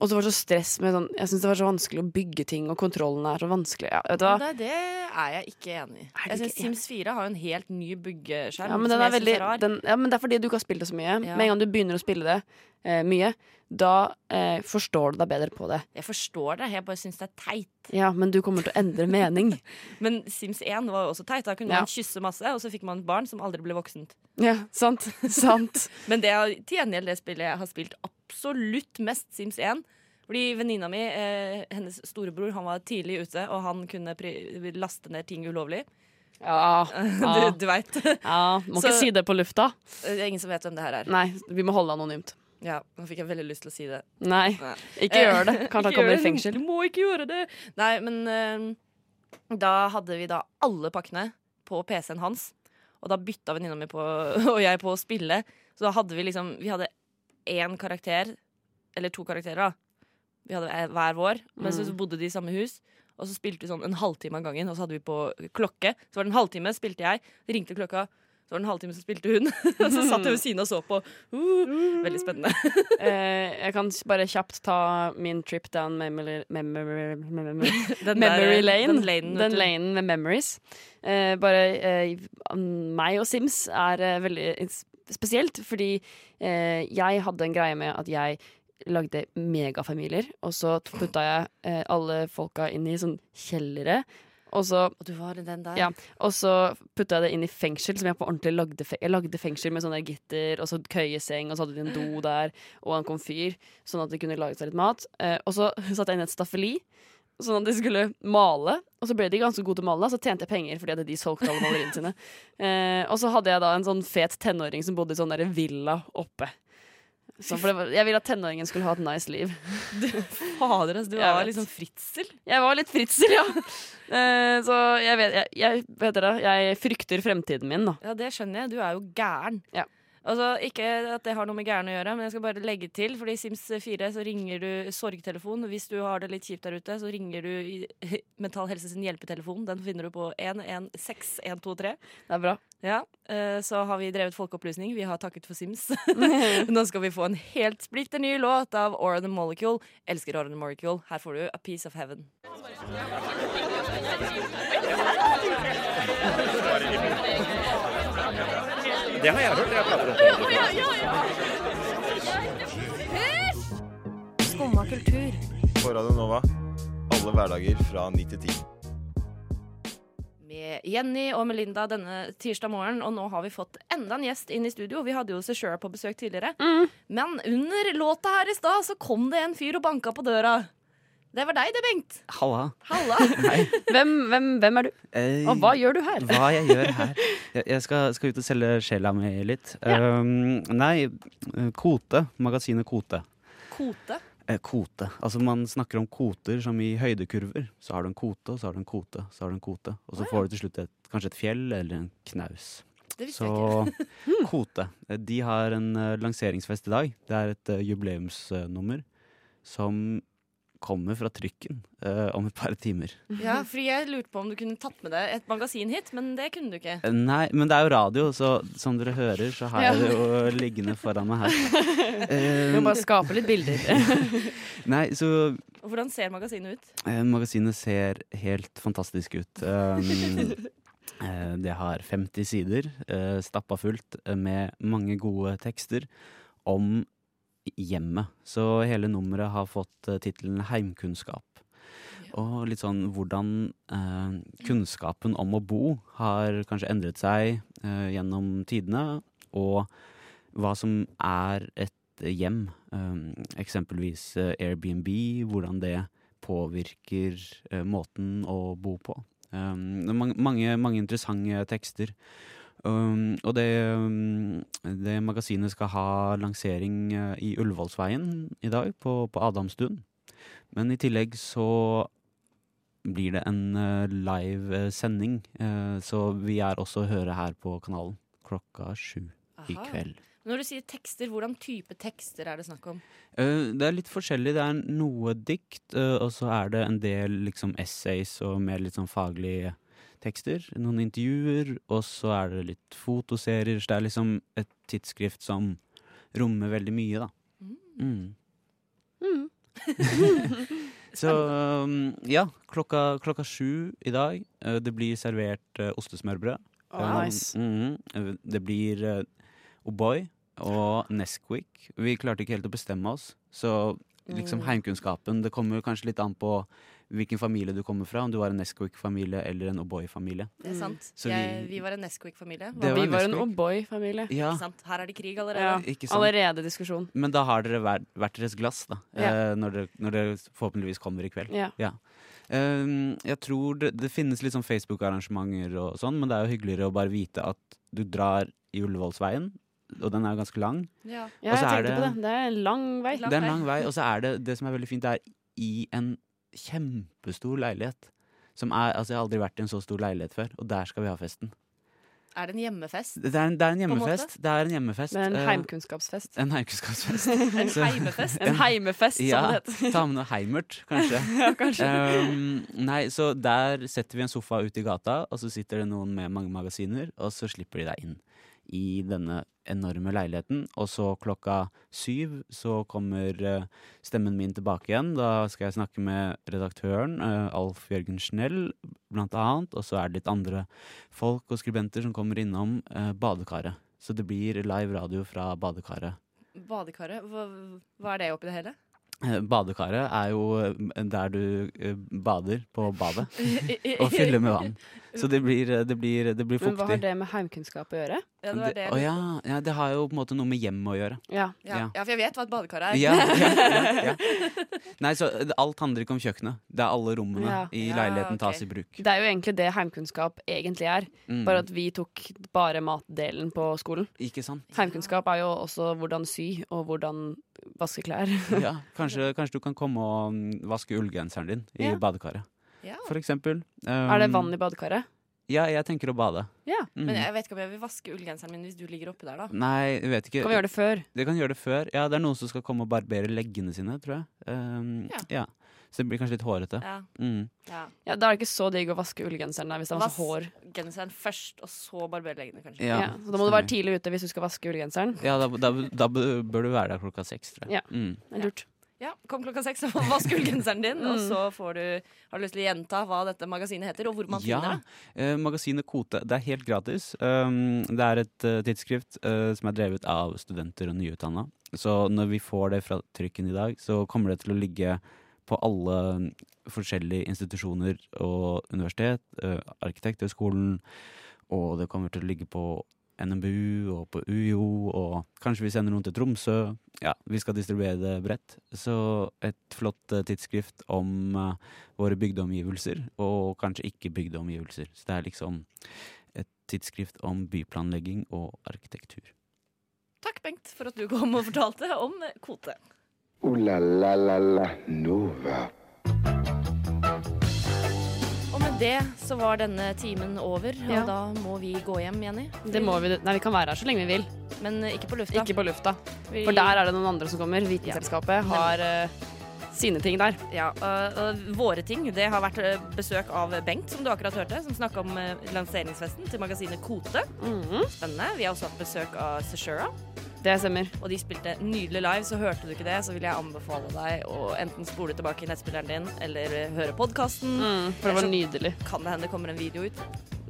[SPEAKER 5] Og så var det så stress med sånn Jeg syns det var så vanskelig å bygge ting, og kontrollen er så vanskelig. Ja, vet du hva?
[SPEAKER 3] Men Det, det er jeg ikke enig i.
[SPEAKER 5] Er du
[SPEAKER 3] Jeg synes
[SPEAKER 5] ikke enig?
[SPEAKER 3] Sims 4 har jo en helt ny byggeskjerm.
[SPEAKER 5] Ja,
[SPEAKER 3] som
[SPEAKER 5] men, den er
[SPEAKER 3] jeg synes
[SPEAKER 5] veldig,
[SPEAKER 3] er rar.
[SPEAKER 5] den, ja, men det er fordi du ikke har spilt det så mye.
[SPEAKER 3] Ja.
[SPEAKER 5] Med en gang du begynner å spille det eh, mye, da eh, forstår du deg bedre på det.
[SPEAKER 3] Jeg forstår det, jeg bare syns det er teit.
[SPEAKER 5] Ja, men du kommer til å endre mening.
[SPEAKER 3] Men Sims 1 var jo også teit. Da kunne
[SPEAKER 5] Ja.
[SPEAKER 3] man kysse masse, og så fikk man et barn som aldri ble voksent.
[SPEAKER 5] ja, sant? sant.
[SPEAKER 3] Men det er til gjengjeld det spillet jeg har spilt absolutt mest Sims 1. Fordi venninna mi, eh, hennes storebror, han var tidlig ute, og han kunne pri laste ned ting ulovlig.
[SPEAKER 5] Ja. ja.
[SPEAKER 3] Du, du veit.
[SPEAKER 5] ja. Må
[SPEAKER 3] Så-
[SPEAKER 5] ikke si det på lufta.
[SPEAKER 3] Det Ah. er ingen som vet hvem det her er.
[SPEAKER 5] Nei, vi må holde anonymt.
[SPEAKER 3] Ja, nå fikk jeg veldig lyst til å si det.
[SPEAKER 5] Nei,
[SPEAKER 3] Nei.
[SPEAKER 5] ikke gjør det. Kanskje
[SPEAKER 3] Ikke
[SPEAKER 5] han
[SPEAKER 3] gjør
[SPEAKER 5] kommer i
[SPEAKER 3] det.
[SPEAKER 5] fengsel.
[SPEAKER 3] Du må ikke gjøre det! Nei, men eh, da hadde vi da alle pakkene på PC-en hans. Og da bytta venninna mi på, og jeg på å spille. Så da hadde vi liksom Vi hadde én karakter, eller to karakterer, da. Vi hadde eh, hver vår, men så
[SPEAKER 5] Mm.
[SPEAKER 3] bodde de i samme hus. Og så spilte vi sånn en halvtime av gangen, og så hadde vi på klokke. Så var det en halvtime, spilte jeg. Ringte klokka, så var det en halvtime, så spilte hun. Og så satt jeg ved siden og så på.
[SPEAKER 5] Mm.
[SPEAKER 3] Uh, veldig spennende.
[SPEAKER 5] Eh, jeg kan s- bare kjapt ta min trip down memory, memory, memory,
[SPEAKER 3] Den
[SPEAKER 5] memory
[SPEAKER 3] der-
[SPEAKER 5] lane.
[SPEAKER 3] Den lanen, vet
[SPEAKER 5] Den
[SPEAKER 3] du.
[SPEAKER 5] lanen med memories. Eh, bare eh, meg og Sims er eh, veldig ins- spesielt, fordi eh, jeg hadde en greie med at jeg lagde megafamilier, og så putta jeg eh, alle folka inn i sånn kjellere. Og så
[SPEAKER 3] Og du var i den der.
[SPEAKER 5] Ja. og så putta jeg det inn i fengsel, som jeg på ordentlig lagde, fe jeg lagde fengsel med sånne gitter og så køyeseng, og så hadde de en do der og en komfyr, sånn at de kunne lage seg litt mat. Eh, og så satte jeg inn et staffeli, sånn at de skulle male. Og så ble de ganske gode til å male, så tjente jeg penger fordi at de solgte alle maleriene sine. Eh, og så hadde jeg da en sånn fet tenåring som bodde i sånn der villa oppe. Så for det var, jeg ville at tenåringen skulle ha et nice liv.
[SPEAKER 3] Fader, ass, du
[SPEAKER 5] Jeg
[SPEAKER 3] var
[SPEAKER 5] vet.
[SPEAKER 3] liksom fritzel.
[SPEAKER 5] Jeg var litt fritzel, ja. Eh, så jeg vet, jeg, jeg, vet dere, jeg frykter fremtiden min, da.
[SPEAKER 3] Ja, det skjønner jeg. Du er jo gæren.
[SPEAKER 5] Ja.
[SPEAKER 3] Altså, Ikke at det har noe med gæren å gjøre, men jeg skal bare legge til. Fordi i Sims 4 så ringer du sorgtelefon. Hvis du har det litt kjipt der ute, så ringer du i Mental Helse sin hjelpetelefon. Den finner du på 116123.
[SPEAKER 5] Det er bra.
[SPEAKER 3] Ja, eh, Så har vi drevet folkeopplysning. Vi har takket for Sims. Nå skal vi få en helt splitter ny låt av Aura the Molecule. Elsker Aura the Molecule. Her får du A Piece of Heaven.
[SPEAKER 4] Skumma kultur.
[SPEAKER 10] På Radio Nova. Alle hverdager fra 9 til 10.
[SPEAKER 3] med Jenny og Melinda denne tirsdag morgen. Og nå har vi fått enda en gjest inn i studio. Vi hadde jo Seshura på besøk tidligere.
[SPEAKER 11] Mm.
[SPEAKER 3] Men under låta her i stad så kom det en fyr og banka på døra. Det var deg det, Bengt.
[SPEAKER 11] Halla.
[SPEAKER 3] Halla.
[SPEAKER 5] Hvem, hvem, hvem er du?
[SPEAKER 11] Eh,
[SPEAKER 5] Og hva gjør du her?
[SPEAKER 11] hva jeg gjør her? Jeg, jeg skal, skal ut og selge sjela mi litt. Um, nei, eh, Kote. Magasinet Kote.
[SPEAKER 3] Kote.
[SPEAKER 11] Eh, kote. Altså man snakker om koter som i høydekurver. Så har du en kote, og så har du en kote, så har du en kote. Og så får du til slutt et, kanskje et fjell eller en knaus.
[SPEAKER 3] Det visste
[SPEAKER 11] Så
[SPEAKER 3] jeg ikke.
[SPEAKER 11] Kote. eh, De har en eh, lanseringsfest i dag. Det er et eh, jubileumsnummer som kommer fra trykken eh, om et par timer.
[SPEAKER 3] Ja, fordi jeg lurte på om du kunne tatt med deg et magasin hit, men det kunne du ikke.
[SPEAKER 11] Eh, Nei, men det er jo radio, så som dere hører, så har jeg det jo liggende foran meg her.
[SPEAKER 5] Vi må
[SPEAKER 11] Eh,
[SPEAKER 5] bare skape litt bilder.
[SPEAKER 11] nei, så
[SPEAKER 3] Og hvordan ser magasinet ut?
[SPEAKER 11] eh, magasinet ser helt fantastisk ut. Um, eh, det har 50 sider, eh, stappa fullt eh, med mange gode tekster om hjemmet. Så hele nummeret har fått eh, tittelen Heimkunnskap. Og litt sånn hvordan eh, kunnskapen om å bo har kanskje endret seg eh, gjennom tidene, og hva som er et hjem. Eh, eksempelvis eh, Airbnb, hvordan det påvirker eh, måten å bo på. Um, det er mange, mange, mange interessante tekster. Um, og det, um, det magasinet skal ha lansering eh, i Ullevålsveien i dag, på, på Adamstuen. Men i tillegg så blir det en eh, live eh, sending, eh, så vi er også å høre her på kanalen klokka sju i
[SPEAKER 3] Aha.
[SPEAKER 11] kveld.
[SPEAKER 3] Når du sier tekster, hvordan type tekster er det snakk om?
[SPEAKER 11] Eh, det er litt forskjellig. Det er noe dikt, eh, og så er det en del liksom, essays og mer litt sånn faglige tekster. Noen intervjuer, og så er det litt fotoserier. Så det er liksom et tidsskrift som rommer veldig mye, da. Mm.
[SPEAKER 5] Mm.
[SPEAKER 11] så um, ja, klokka, klokka sju i dag. eh, det blir servert eh, ostesmørbrød. Um,
[SPEAKER 5] nice.
[SPEAKER 11] mhm. Eh, Det blir eh, O'boy og Nesquik. Vi klarte ikke helt å bestemme oss. Så
[SPEAKER 5] Mm.
[SPEAKER 11] liksom heimkunnskapen Det kommer kanskje litt an på hvilken familie du kommer fra. Om du var en Nesquik-familie eller en O'boy-familie.
[SPEAKER 3] Det er sant.
[SPEAKER 11] Mm. Så vi-
[SPEAKER 3] jeg, vi var en Nesquik-familie.
[SPEAKER 11] Det
[SPEAKER 5] Vi var en
[SPEAKER 11] Nesquik.
[SPEAKER 5] O'boy-familie.
[SPEAKER 11] Ja,
[SPEAKER 3] Ikke sant? Her er det krig allerede.
[SPEAKER 5] Ja,
[SPEAKER 11] ikke sant.
[SPEAKER 5] allerede diskusjon.
[SPEAKER 11] Men da har dere hver, hvert deres glass, da.
[SPEAKER 5] Ja.
[SPEAKER 11] eh, Når, dere, når dere forhåpentligvis kommer i kveld.
[SPEAKER 5] Ja.
[SPEAKER 11] Um, jeg tror det, det finnes litt sånn Facebook-arrangementer og sånn, men det er jo hyggeligere å bare vite at du drar i Ullevålsveien, og den er jo ganske lang.
[SPEAKER 5] Ja,
[SPEAKER 11] Og
[SPEAKER 5] jeg
[SPEAKER 11] så er
[SPEAKER 5] tenkte på det. Det er en lang vei.
[SPEAKER 11] Det er en lang vei, og så er det det som er veldig fint, det er i en kjempestor leilighet. Som er, altså jeg har aldri vært i en så stor leilighet før, og der skal vi ha festen.
[SPEAKER 3] Er det en hjemmefest?
[SPEAKER 11] Det er en, det er en
[SPEAKER 3] På en måte.
[SPEAKER 11] hjemmefest. Det er en hjemmefest.
[SPEAKER 5] Det er en
[SPEAKER 11] eh,
[SPEAKER 5] heimkunnskapsfest.
[SPEAKER 11] En heimkunnskapsfest.
[SPEAKER 5] En
[SPEAKER 11] Så-
[SPEAKER 5] heimefest? En heimefest, som
[SPEAKER 11] ja,
[SPEAKER 5] det heter.
[SPEAKER 11] Ta med noe heimert, kanskje.
[SPEAKER 5] Ja, kanskje.
[SPEAKER 11] Um, nei, så der setter vi en sofa ut i gata, og så sitter det noen med mange magasiner, og så slipper de deg inn i denne enorme leiligheten. Og så klokka syv så kommer eh, stemmen min tilbake igjen. Da skal jeg snakke med redaktøren, eh, Alf Jørgen Schnell, blant annet. Og så er det litt andre folk og skribenter som kommer innom eh, badekaret. Så det blir live radio fra badekaret.
[SPEAKER 3] Badekaret? Hva, hva er det oppi det hele?
[SPEAKER 11] Eh, Badekaret er jo eh, der du eh, bader på badet og fyller med vann. Så det blir, eh, det blir, det blir
[SPEAKER 5] Men hva har
[SPEAKER 11] fuktig.
[SPEAKER 5] det med heimkunnskap å gjøre?
[SPEAKER 11] Det- å ja, ja, det har jo på en måte noe med hjemmet å gjøre.
[SPEAKER 5] Ja.
[SPEAKER 11] Ja.
[SPEAKER 3] for jeg vet hva et badekar er.
[SPEAKER 11] Ja, ja, ja, ja. Nei, så eh, alt handler ikke om kjøkkenet. Det er alle rommene
[SPEAKER 5] Ja.
[SPEAKER 11] i
[SPEAKER 5] Ja,
[SPEAKER 11] leiligheten
[SPEAKER 5] ok.
[SPEAKER 11] tas i bruk.
[SPEAKER 5] Det er jo egentlig det heimkunnskap egentlig er,
[SPEAKER 11] Mm.
[SPEAKER 5] bare at vi tok bare matdelen på skolen.
[SPEAKER 11] Ikke sant?
[SPEAKER 5] Heimkunnskap er jo også hvordan sy og hvordan vaske klær.
[SPEAKER 11] Ja, kanskje, kanskje du kan komme og mm, vaske ullgenseren din i
[SPEAKER 5] Ja.
[SPEAKER 11] badekaret.
[SPEAKER 3] Ja.
[SPEAKER 11] For eksempel. Um,
[SPEAKER 5] Er det vann i badekaret?
[SPEAKER 11] Ja, jeg tenker å bade. Mhm.
[SPEAKER 3] Men jeg vet ikke om jeg vil vaske ullgenseren min hvis du ligger oppi der, da.
[SPEAKER 11] Nei, jeg vet ikke.
[SPEAKER 3] Kan vi gjøre det før?
[SPEAKER 11] Det kan gjøre det før. Ja, det er noen som skal komme og barbere leggene sine, tror jeg. Um, ja. Så det blir kanskje litt hårete.
[SPEAKER 3] Ja.
[SPEAKER 11] Mm.
[SPEAKER 3] Ja.
[SPEAKER 5] Ja, Da er det ikke så digg å vaske ullgenseren der hvis det er masse hår.
[SPEAKER 3] genseren først, og så barbere leggene, kanskje.
[SPEAKER 11] Ja.
[SPEAKER 5] Ja, så da må du være tidlig ute hvis du skal vaske ullgenseren.
[SPEAKER 11] Ja, da, da, da bør du være der klokka seks, tror jeg.
[SPEAKER 5] Ja.
[SPEAKER 11] Mm.
[SPEAKER 5] Det er lurt.
[SPEAKER 3] Ja, Kom klokka seks og vask ullgenseren din, og
[SPEAKER 5] Mm.
[SPEAKER 3] så får du, har du lyst til å gjenta hva dette magasinet heter, og hvor man finner det.
[SPEAKER 11] eh, magasinet Kote. Det er helt gratis. Um, det er et eh, tidsskrift eh, som er drevet av studenter og nyutdanna. Så når vi får det fra trykken i dag, så kommer det til å ligge på alle mm, forskjellige institusjoner og universitet. eh, Arkitekthøgskolen, og det kommer til å ligge på NMBU og på UiO, og kanskje vi sender noen til Tromsø. Ja, vi skal distribuere det bredt. Så et flott eh, tidsskrift om eh, våre bygdeomgivelser, og kanskje ikke bygdeomgivelser. Så det er liksom et tidsskrift om byplanlegging og arkitektur.
[SPEAKER 3] Takk, Bengt, for at du kom og fortalte om kvote.
[SPEAKER 2] Ooh la la la la Nova.
[SPEAKER 3] Og med det så var denne timen over,
[SPEAKER 5] Ja.
[SPEAKER 3] og da må vi gå hjem, Jenny.
[SPEAKER 5] Det må vi, nei, vi kan være her så lenge vi vil.
[SPEAKER 3] Men eh, ikke på lufta.
[SPEAKER 5] Ikke på lufta.
[SPEAKER 3] Vi-
[SPEAKER 5] For der er det noen andre som kommer. Vitenselskapet har eh, sine ting der.
[SPEAKER 3] Ja, og, og våre ting, det har vært eh, besøk av Bengt, som du akkurat hørte, som snakka om eh, lanseringsfesten til magasinet Kote. Spennende. Vi har også hatt besøk av Seshura.
[SPEAKER 5] Mhm. Det stemmer.
[SPEAKER 3] Og de spilte nydelig live, så hørte du ikke det, så vil jeg anbefale deg å enten spole tilbake i nettspilleren din, eller eh, høre podkasten.
[SPEAKER 5] Mm, for det var nydelig.
[SPEAKER 3] Kan det hende det kommer en video ut.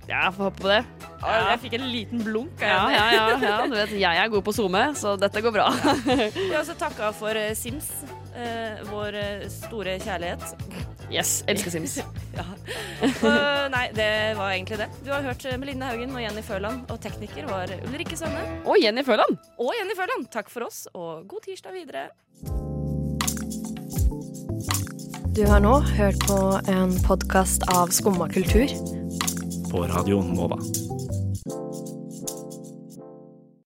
[SPEAKER 5] Ja, får håpe på det.
[SPEAKER 3] Ah, Jeg fikk en liten blunk.
[SPEAKER 5] Ja, ja, ja, ja. Du vet, jeg er god på SoMe, så dette går bra.
[SPEAKER 3] Vi har også takka for eh, Sims, eh, vår eh, store kjærlighet.
[SPEAKER 5] Yes, elsker Sims.
[SPEAKER 3] Og nei, det var egentlig det. Du har hørt Melinda Haugen og Jenny Føland, og tekniker var Ulrikke Sønne.
[SPEAKER 5] Og Jenny Føland.
[SPEAKER 3] Og Jenny Føland. Takk for oss, og god tirsdag videre.
[SPEAKER 12] Du har nå hørt på en podkast av Skumma kultur.
[SPEAKER 13] På radioen Nova.